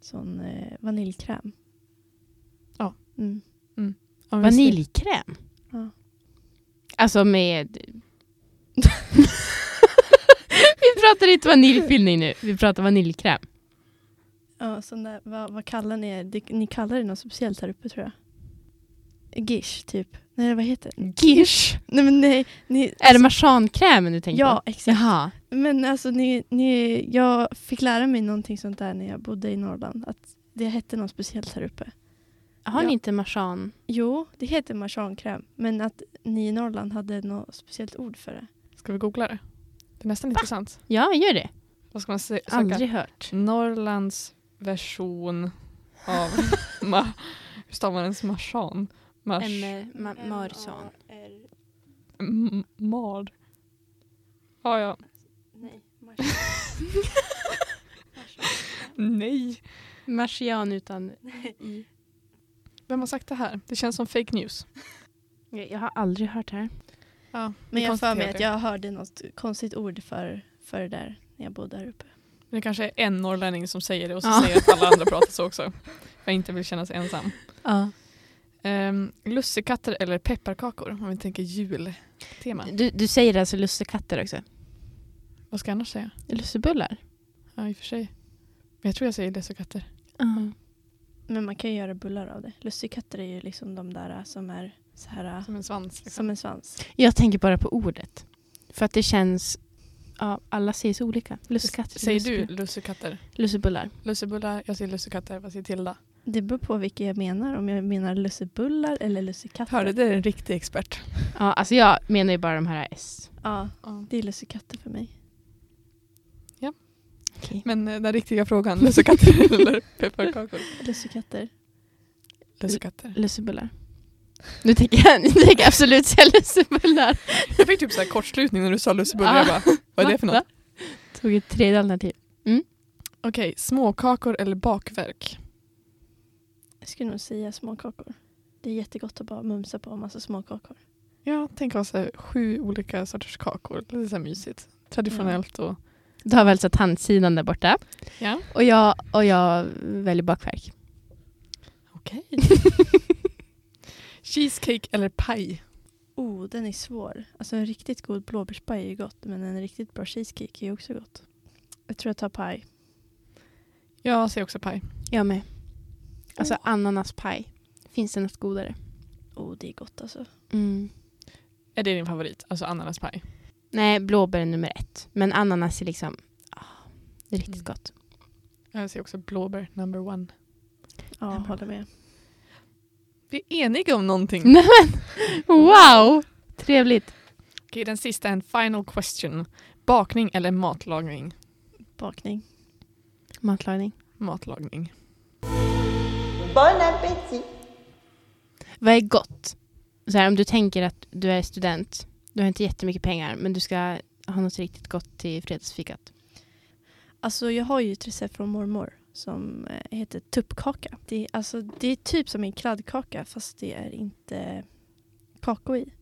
sån eh, vaniljkräm.
Ja.
Mm.
Om vi ser-
Vaniljkräm?
Ja.
Alltså med... vi pratar inte vaniljfyllning nu, vi pratar vaniljkräm.
Ja, sån där, vad, vad kallar ni det? det? Ni kallar det något speciellt här uppe tror jag. Gish typ. Nej vad heter det?
Gish!
Nej men nej. Ni, alltså,
Är det marsankrämen du tänker
Ja
på?
exakt.
Jaha.
Men alltså, ni, ni, jag fick lära mig någonting sånt där när jag bodde i Norrland. Att det hette något speciellt här uppe.
Har
Ja.
ni inte marsan?
Jo, det heter marsankräm. Men att ni i Norrland hade något speciellt ord för det.
Ska vi googla det? Det är nästan intressant.
Ja, gör det.
Vad ska man se- söka?
Aldrig hört.
Norrlands version av... ma- Hur stavar man ens marsan? Mars...
E.
En ma- marsan.
M- mar... Ja, ja.
Nej,
Nej.
Marsian utan i.
Vem har sagt det här? Det känns som fake news.
Jag har aldrig hört det här.
Ja,
Men jag har för mig att jag hörde något konstigt ord för, för det där när jag bodde här uppe.
Det kanske är en norrlänning som säger det och så
Ja.
säger att alla andra pratar så också. För jag inte vill känna sig ensam.
Ja.
Um, lussekatter eller pepparkakor? Om vi tänker jultema.
Du, du säger alltså lussekatter också?
Vad ska jag annars säga?
Lussebullar?
Ja, i och för sig. Men jag tror jag säger lussekatter.
Men man kan ju göra bullar av det. Lussekatter är ju liksom de där äh, som är så här äh,
Som en svans. Liksom.
som en svans.
Jag tänker bara på ordet. För att det känns... Ja, alla säger så olika. Lussekatter.
Säger du
lussebullar.
lussekatter?
Lussebullar.
Lussebullar, jag säger lussekatter. Vad säger Tilda?
Det beror på vilka jag menar. Om jag menar lussebullar eller lussekatter.
det är en riktig expert.
Ja, alltså jag menar ju bara de här S.
Ja,
Ja.
det är lussekatter för mig.
Men eh, den riktiga frågan, lussekatter eller pepparkakor?
Lussekatter.
Lussekatter.
Lussebullar. Nu tänker jag, nu tänker jag absolut säga lussebullar.
Jag fick typ så här kortslutning när du sa lussebullar. Jag bara, vad är det för något?
Va? Tog ett tredje alternativ.
Okej, småkakor eller bakverk?
Jag skulle nog säga småkakor. Det är jättegott att bara mumsa på en massa småkakor.
Ja, tänk oss så här, sju olika sorters kakor. Lite så här mysigt. Traditionellt och...
Du har vi alltså tandsidan där borta.
Ja.
Och jag, och jag väljer bakverk.
Okej. Cheesecake eller paj?
Oh, den är svår. Alltså en riktigt god blåbärspaj är ju gott, men en riktigt bra cheesecake är ju också gott. Jag tror jag tar paj.
Jag Oh. säger också paj.
Jag med. Alltså ananaspaj. Finns det något godare?
Oh, det är gott alltså.
Mm. Är det din favorit? Alltså ananaspaj?
Nej, blåbär är nummer ett. Men ananas är liksom... ah, det är riktigt
Mm.
gott.
Jag säger också blåbär number one.
Ja,
Ja, bra.
håller med.
Vi är eniga om någonting.
Nej men! Wow! Trevligt.
Okej, den sista är en final question. Bakning eller matlagning?
Bakning.
Matlagning.
Matlagning.
Bon appétit.
Vad är gott? Så här, om du tänker att du är student, du har inte jättemycket pengar, men du ska ha något riktigt gott till fredagsfikat.
Alltså jag har ju ett recept från mormor som eh, heter tuppkaka. Det är, alltså, det är typ som en kladdkaka fast det är inte kakao i.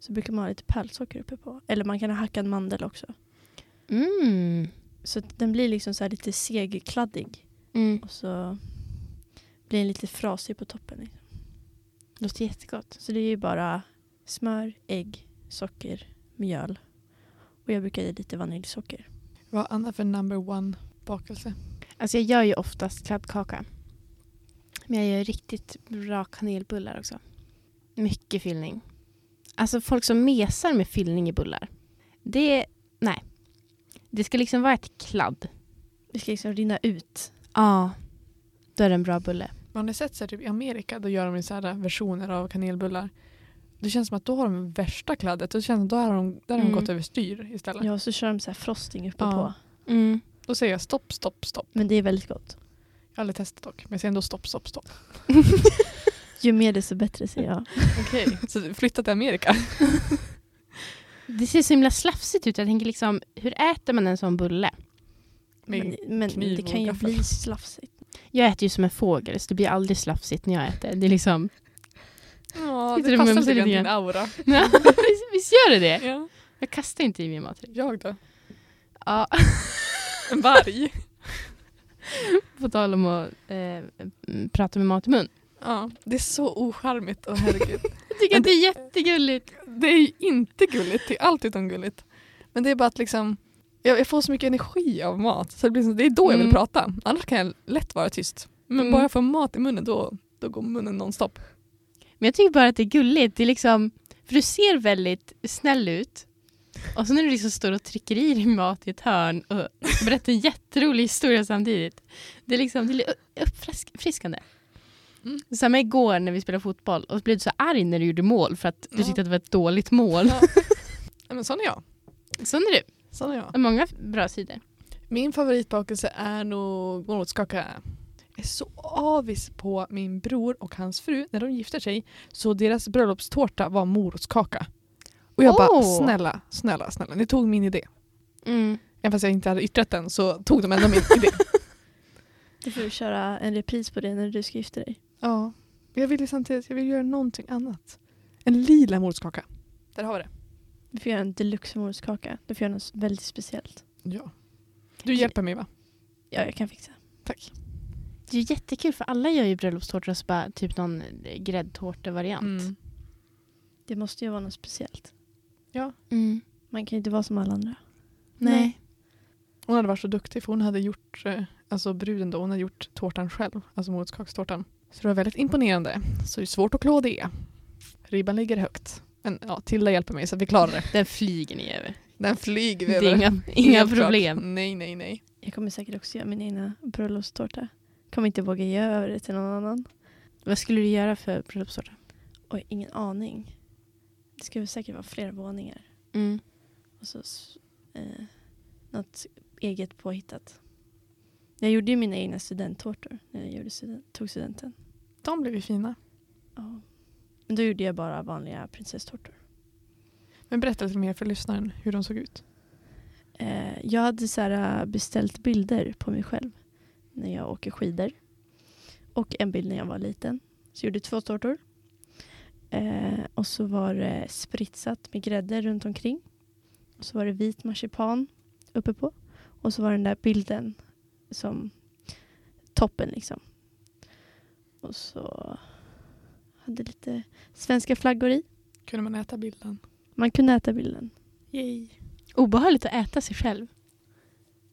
Så brukar man ha lite pärlsocker uppe på. Eller man kan ha hackad mandel också.
Mm.
Så att den blir liksom så här lite segkladdig.
mm.
Och så blir den lite frasig på toppen. Liksom.
Låter jättegott.
Så det är ju bara smör, ägg, socker, mjöl. Och jag brukar ge lite vaniljsocker.
Vad har Anna för number one bakelse?
Alltså jag gör ju oftast kladdkaka. Men jag gör riktigt bra kanelbullar också. Mycket fyllning. Alltså folk som mesar med fyllning i bullar. Det, nej. Det ska liksom vara ett kladd.
Det ska liksom rinna ut.
Ja. Då är det en bra bulle.
Man har sett så här, typ i Amerika, då gör de ju så här versioner av kanelbullar. Det känns som att då har de värsta kladdet. Det känns som att då har de, där har de
Mm.
gått överstyr istället.
Ja, och så kör de så här frosting uppe
Ja.
på.
Mm.
Då säger jag stopp, stopp, stopp.
Men det är väldigt gott.
Jag har aldrig testat dock, men jag säger ändå stopp, stopp, stopp.
Ju mer desto bättre säger jag.
Okej, så flytta till Amerika.
Det ser så himla slafsigt ut. Jag tänker liksom, hur äter man en sån bulle?
Men,
Men,
men
kniv
det
och
kan ju
gaffel.
bli slafsigt.
Jag äter ju som en fågel så det blir aldrig slafsigt när jag äter. Det är liksom,
ja,
Sitter
det
du
passar
mumsar
lite grann
lite
din
grann?
aura.
visst, visst gör det det?
Ja.
Jag kastar inte i min maträtt.
Jag då?
Ja.
En varg?
På tal om att eh, prata med mat i mun.
ja, det är så ocharmigt. Åh, herregud.
Jag tycker att det är jättegulligt.
det är ju inte gulligt, det är allt utom gulligt. Men det är bara att liksom, jag, jag får så mycket energi av mat. Så det, blir så, det är då jag vill
Mm.
prata. Annars kan jag lätt vara tyst. Men
Mm.
bara jag får mat i munnen då, då går munnen nonstop.
Men jag tycker bara att det är gulligt. Det är liksom, för du ser väldigt snäll ut. Och sen när du liksom står och trycker i din mat i ett hörn och berättar en jätterolig historia samtidigt. Det är liksom det är uppfriskande.
Mm.
Samma igår när vi spelade fotboll och så blev du så arg när du gjorde mål för att du
Ja.
tyckte att det var ett dåligt mål.
Ja. Nej, men sån är jag.
Sån är du.
Sån är jag.
Har Många bra sidor.
Min favoritbakelse är nog morotskaka. Jag är så avis på min bror och hans fru när de gifter sig. Så deras bröllopstårta var morotskaka. Och jag bara
Åh.
snälla, snälla, snälla, ni tog min idé.
Mm.
Även fast jag inte hade yttrat den så tog de ändå min idé.
Du får köra en repris på det när du ska gifta dig.
Ja, men jag vill ju samtidigt jag vill göra någonting annat. En lila morotskaka. Där har vi det.
Du får göra en deluxe morotskaka. Du får göra något väldigt speciellt.
Ja. Du hjälper mig va?
Ja, jag kan fixa.
Tack.
Det är ju jättekul för alla gör ju bröllopstårtor och så bara typ någon eh, gräddtårtevariant.
Mm.
Det måste ju vara något speciellt.
Mm.
Man kan ju inte vara som alla andra.
Nej.
Hon hade varit så duktig för hon hade gjort, eh, alltså bruden då, hon hade gjort tårtan själv. Alltså morotskakstårtan. Så det var väldigt imponerande. Så det är svårt att klå det. Ribban ligger högt. Men ja, Tilda hjälper mig så att vi klarar det.
Den flyger ni över.
Den flyger
Det är inga, inga
Helt klart.
problem.
Nej, nej, nej.
Jag kommer säkert också göra min egna bröllopstårta. Kommer inte våga ge över det till någon annan.
Vad skulle du göra för bröllopstårta?
Oj, ingen aning. Det skulle säkert vara flera våningar.
Mm.
Och så s- eh, något eget påhittat. Jag gjorde ju mina egna studenttårtor när jag gjorde student, tog studenten.
De blev ju fina.
Ja. Men då gjorde jag bara vanliga prinsesstårtor.
Men berätta lite mer för lyssnaren hur de såg ut.
Eh, jag hade så här, eh, beställt bilder på mig själv när jag åker skidor. Och en bild när jag var liten. Så jag gjorde två tårtor. Eh, och så var det spritsat med grädde runt omkring. Och så var det vit marsipan uppe på. Och så var den där bilden som toppen liksom. Och så hade lite svenska flaggor i.
Kunde man äta bilden?
Man kunde äta bilden.
Yay.
Obehagligt att äta sig själv.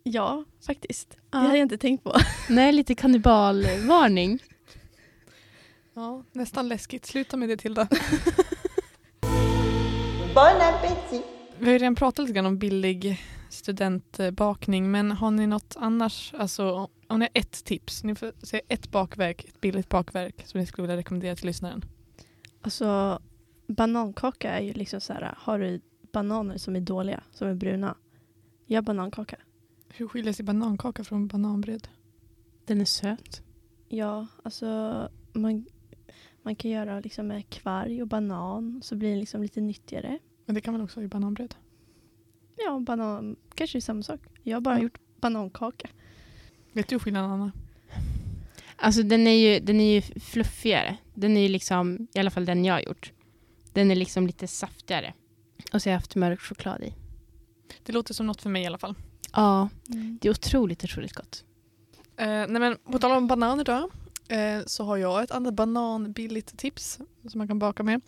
Ja, faktiskt.
Ja.
Det hade jag inte tänkt på.
Nej, lite kannibalvarning.
Ja, nästan läskigt. Sluta med det Tilda.
Bon appétit.
Vi har ju redan pratat lite grann om billig studentbakning men har ni något annars, alltså om ni har ett tips, ni får säga ett bakverk, ett billigt bakverk som ni skulle vilja rekommendera till lyssnaren.
Alltså, banankaka är ju liksom så här, har du bananer som är dåliga, som är bruna, gör banankaka.
Hur skiljer sig banankaka från bananbröd?
Den är söt.
Ja, alltså man, man kan göra liksom med kvarg och banan, så blir det liksom lite nyttigare.
Men det kan man också ha i bananbröd.
Ja, banan kanske är samma sak. Jag har bara
Ja.
gjort banankaka.
Vet du skillnaden Anna?
Alltså den är, ju, den är ju fluffigare. Den är ju liksom, i alla fall den jag har gjort. Den är liksom lite saftigare. Och så har jag haft mörk choklad i.
Det låter som något för mig i alla fall.
Ja,
Mm.
det är otroligt, otroligt gott.
Eh, nej men på tal om bananer då. Eh, så har jag ett annat bananbilligt tips som man kan baka med.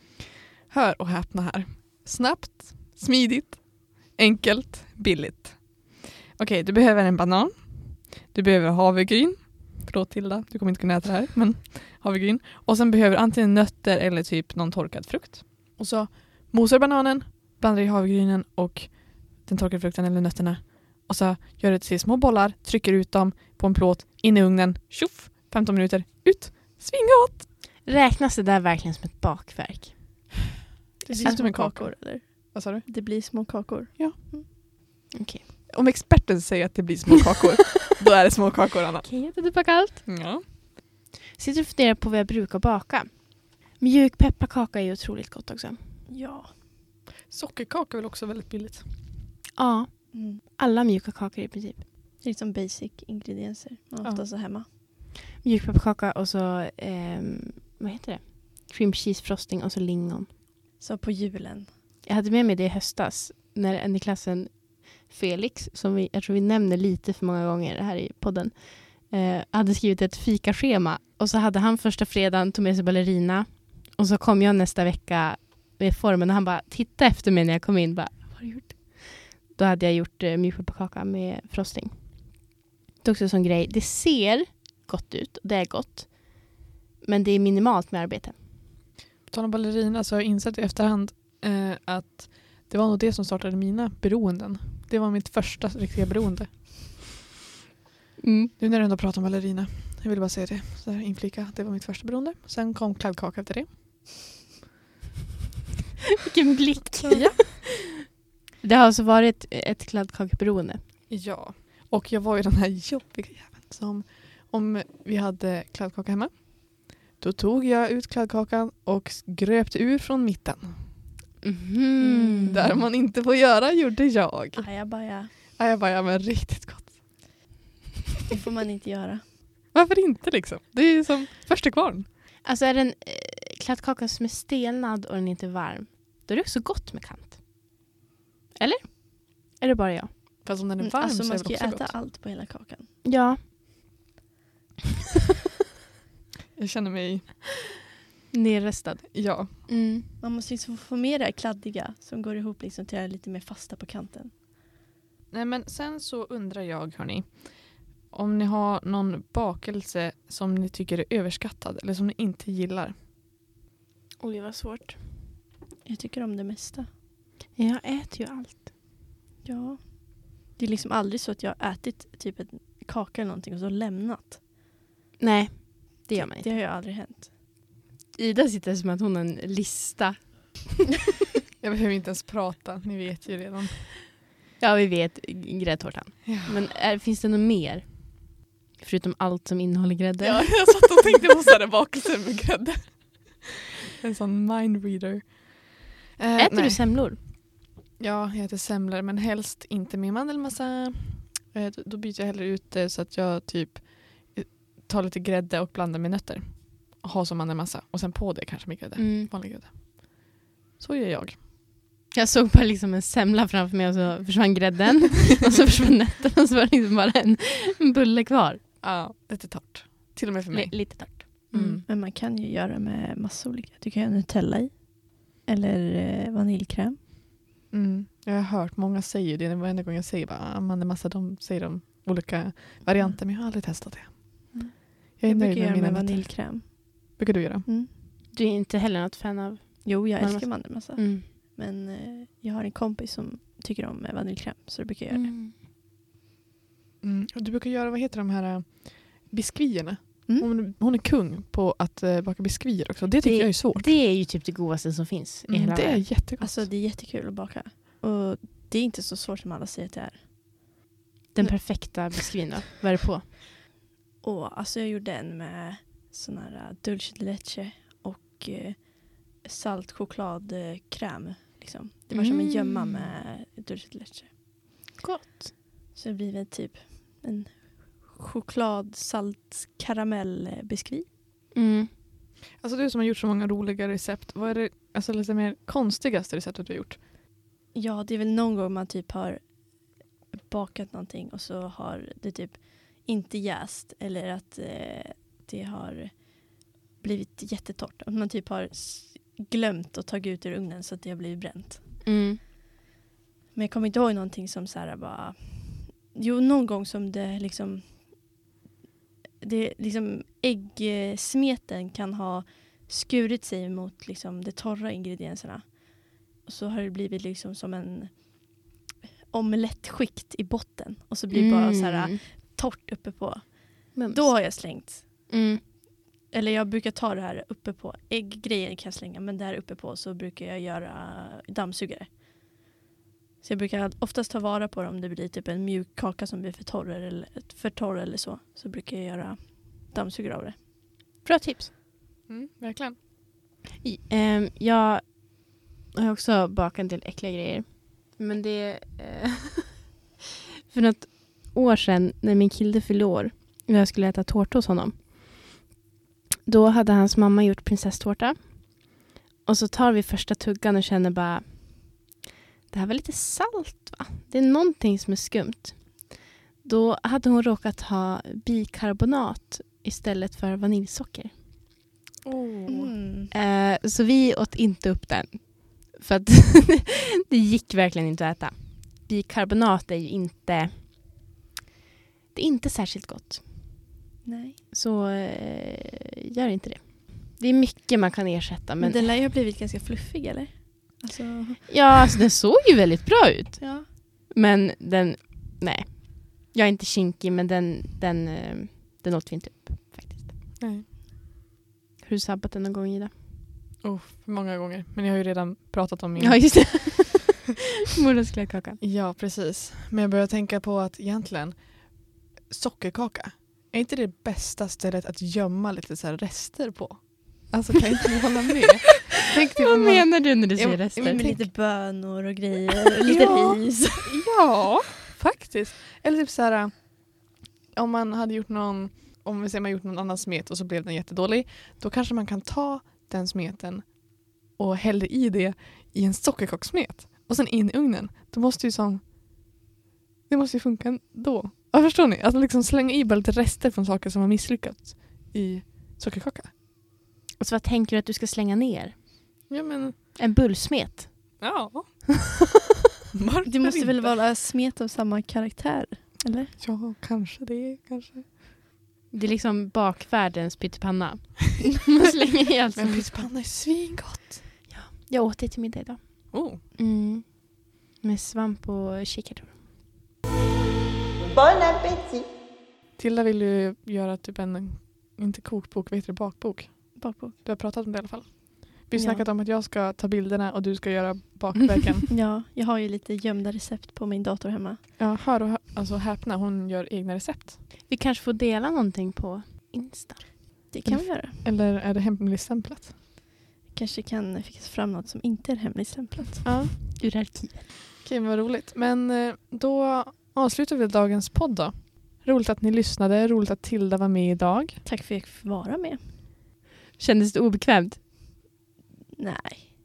Hör och häpna här. Snabbt, smidigt, enkelt, billigt. Okej, du behöver en banan. Du behöver havregryn. Förlåt Tilda, du kommer inte kunna äta det här. Men havregryn. Och sen behöver du antingen nötter eller typ någon torkad frukt. Och så mosar du bananen, blandar i havregrynen och den torkade frukten eller nötterna. Och så gör du till små bollar, trycker ut dem på en plåt, in i ugnen, tjoff, 15 minuter, ut. Svingott!
Räknas det där verkligen som ett bakverk?
Det
ser ut
blir
som en
små
kaka.
kakor eller?
Vad sa du?
Det blir små kakor.
Om experten säger att det blir små kakor, då är det små kakor Anna.
Okej, okay, det bakar allt.
Ja.
Sitter och funderar på vad jag brukar baka. Mjuk pepparkaka är ju otroligt gott också.
Ja.
Sockerkaka är väl också väldigt billigt.
Ja,
Mm.
alla mjuka kakor i princip.
Det är liksom basic ingredienser man
Ja.
ofta så hemma.
Mjuk pepparkaka och så, ehm, vad heter det? Cream cheese frosting och så lingon.
Så på julen.
Jag hade med mig det i höstas när en i klassen Felix, som vi, jag tror vi nämner lite för många gånger här i podden, eh, hade skrivit ett fikaschema. Och så hade han första fredagen, tog med sig ballerina. Och så kom jag nästa vecka med formen och han bara tittade efter mig när jag kom in. Bara, Vad har du gjort? Då hade jag gjort eh, mjukpepparkaka med frosting. Det är också en sån grej, det ser gott ut och det är gott. Men det är minimalt med arbete.
På tal om ballerina så har jag insett i efterhand eh, att det var nog det som startade mina beroenden. Det var mitt första riktiga beroende. Nu när du ändå pratar om ballerina. Jag ville bara säga det. Så här inflika. att Det var mitt första beroende. Sen kom kladdkaka efter det.
Vilken blick!
Ja.
Det har alltså varit ett kladdkakeberoende.
ja. Och jag var ju den här jobbiga jäveln som om vi hade kladdkaka hemma. Då tog jag ut kladdkakan och gröpte ur från mitten.
Mhm.
Mm. Där man inte får göra gjorde jag.
Ajabaja.
Ja, jag bara, ja men riktigt gott.
Det får man inte göra.
Varför inte liksom? Det är ju som första kvarn.
Alltså är det en eh, kladdkaka som är stelnad och den är inte varm, då är det också gott med kant. Eller? Är det bara jag?
Fast om den är
Mm,
varm
alltså
så är
man
det
ska ju
också
äta
gott.
allt på hela kakan.
Ja.
Jag känner mig,
Nerrestad.
ja.
Mm.
Man måste liksom få med det här kladdiga som går ihop liksom till det här lite mer fasta på kanten.
Nej men sen så undrar jag hörni. Om ni har någon bakelse som ni tycker är överskattad eller som ni inte gillar.
Oj, vad svårt.
Jag tycker om det mesta.
Jag äter ju allt.
Ja. Det är liksom aldrig så att jag har ätit typ en kaka eller någonting och så lämnat.
Nej, det gör man
Det
inte.
har ju aldrig hänt.
Ida sitter som att hon har en lista.
Jag behöver inte ens prata, ni vet ju redan.
Ja, vi vet. g- Gräddtårtan.
Ja.
Men är, finns det något mer? Förutom allt som innehåller grädde?
Ja, jag satt och tänkte på sådana bakelser med grädde. En sån mindreader. Eh,
Äter
nej.
du semlor?
Ja, jag äter semlor men helst inte med mandelmassa. Eh, Då, då byter jag hellre ut det så att jag typ eh, tar lite grädde och blandar med nötter. Och har som mandelmassa och sen på det kanske med grädde.
Mm.
Vanlig grädde. Så gör jag.
Jag såg bara liksom en semla framför mig och så försvann grädden och så försvann nötterna och så var det liksom bara en, en bulle kvar.
Ja, lite torrt. Till och med för
Li-
mig.
lite torrt.
Mm.
Men man kan ju göra med massa olika. Du kan göra Nutella i. Eller eh, vaniljkräm.
Mm. Jag har hört många säger det. Varenda gång jag säger bara ah, mandelmassa, de säger de olika varianter men jag har aldrig testat det.
Mm.
Jag är
jag
nöjd med
brukar göra
mina
med
nötter.
vaniljkräm.
Brukar du göra?
Mm.
Du är inte heller något fan av...
Jo, jag
Mandelmassa.
älskar mandelmassa.
Mm.
Men eh, jag har en kompis som tycker om eh, vaniljkräm så då brukar jag göra det.
Mm.
Mm. Och Du brukar göra, vad heter de här eh, biskvierna?
Mm.
Hon, hon är kung på att eh, baka biskvier också. Det tycker
Det-
jag är svårt.
Det är ju typ det godaste som finns i
Mm,
hela
det är
världen.
jättegott.
Alltså det är jättekul att baka. Och det är inte så svårt som alla säger att det är.
Den perfekta biskvin då. Vad är det på?
Och alltså jag gjorde en med sån här eh, dulce de leche och eh, saltchokladkräm. Liksom. Det var som en gömma
Mm.
med dulce de leche.
Gott.
Så det blir väl typ en choklad salt karamell biskvi.
Mm.
Alltså, du som har gjort så många roliga recept. Vad är det alltså, lite mer konstigaste receptet du har gjort?
Ja, det är väl någon gång man typ har bakat någonting och så har det typ inte jäst eller att eh, det har blivit jättetort. Att man typ har s- glömt att tagit ut ur ugnen så att det har blivit bränt.
Mm.
Men jag kommer inte ihåg någonting som så här bara Jo, någon gång som det liksom... Det liksom äggsmeten kan ha skurit sig mot liksom de torra ingredienserna. Och så har det blivit liksom som en omelettskikt i botten och så blir det bara så
Mm.
här torrt uppe på.
Mums.
Då har jag slängt.
Mm.
Eller jag brukar ta det här uppe på. Ägggrejen kan jag slänga men där uppe på så brukar jag göra dammsugare. Så jag brukar oftast ta vara på det om det blir typ en mjuk kaka som blir för torr eller, för torr eller så. Så brukar jag göra dammsugare av det.
Bra tips.
Mm, verkligen.
I- ehm, jag har också bakat en del äckliga grejer. Men det... Eh, för något år sedan när min kille fyllde år och jag skulle äta tårta hos honom. Då hade hans mamma gjort prinsesstårta. Och så tar vi första tuggan och känner bara det här var lite salt va? Det är någonting som är skumt. Då hade hon råkat ha bikarbonat istället för vaniljsocker.
Mm.
Eh, så vi åt inte upp den. För att det gick verkligen inte att äta. Bikarbonat är ju inte... Det är inte särskilt gott.
Nej.
Så eh, gör inte det. Det är mycket man kan ersätta.
Men,
Men
den lär ju ha blivit ganska fluffig eller? Alltså,
Ja, alltså den såg ju väldigt bra ut.
ja.
Men den... Nej. Jag är inte kinkig, men den, den, eh, den åt vi inte upp faktiskt.
Nej.
Har du sabbat den någon gång, Ida?
Oh, för många gånger. Men jag har ju redan pratat om min.
Ja, just det. Mormors kladdkaka.
Ja, precis. Men jag börjar tänka på att egentligen sockerkaka, är inte det bästa stället att gömma lite så här rester på? Alltså kan inte ni hålla med? Tänk dig
Vad
om man-
menar du när du
Ja,
säger
men-
rester?
Med
tänk-
lite bönor och grejer. Och lite
Ja.
ris.
Ja, faktiskt. Eller typ så här om man hade gjort någon, om vi säger man gjort någon annan smet och så blev den jättedålig, då kanske man kan ta den smeten och hälla i det i en sockerkakssmet och sen in i ugnen. Då måste ju som, det måste ju funka då. Ja, förstår ni? Att liksom slänga i bara lite rester från saker som har misslyckats i sockerkaka.
Och så vad tänker du att du ska slänga ner?
Ja men,
En bullsmet?
ja.
Det måste väl
inte?
vara smet av samma karaktär? Eller?
Ja, kanske det. Kanske.
Det är liksom bakvärldens pyttipanna. Man slänger i allt.
Men pyttipanna är svingott.
Jag åt det till middag idag.
Oh.
Mm. Med svamp och kikärtor.
Bon appétit.
Tilda vill ju göra typ en, inte kokbok, vad heter det, bakbok.
Bakbok.
Du har pratat om det i alla fall. Vi har
Ja.
snackat om att jag ska ta bilderna och du ska göra bakverken.
Ja, jag har ju lite gömda recept på min dator hemma.
ja, hör och hö- alltså häpna, hon gör egna recept.
Vi kanske får dela någonting på Insta.
Det kan vi göra.
Eller är det hemligstämplat?
Kanske kan fixa fram något som inte är hemligstämplat.
Ja.
Ur arkivet.
Okej, vad roligt. Men eh, då avslutar vi dagens podd då. Roligt att ni lyssnade, roligt att Tilda var med idag.
Tack för att jag fick vara med.
Kändes det obekvämt?
Nej.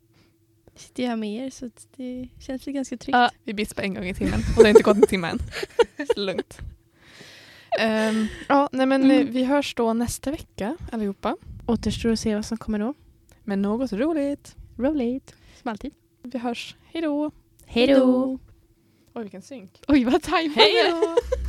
Jag sitter ju här med er så att det känns väl ganska tryggt.
Ja, vi bits på en gång i timmen och det har inte gått en timme än. Så lugnt. Ehm, ja, nej men eh, vi hörs då nästa vecka allihopa.
Återstår att se vad som kommer då.
Men något roligt.
Roll it. Som alltid.
Vi hörs. Hej då.
Hej då!
Oj, vilken synk.
Oj, vad tajmade!
då.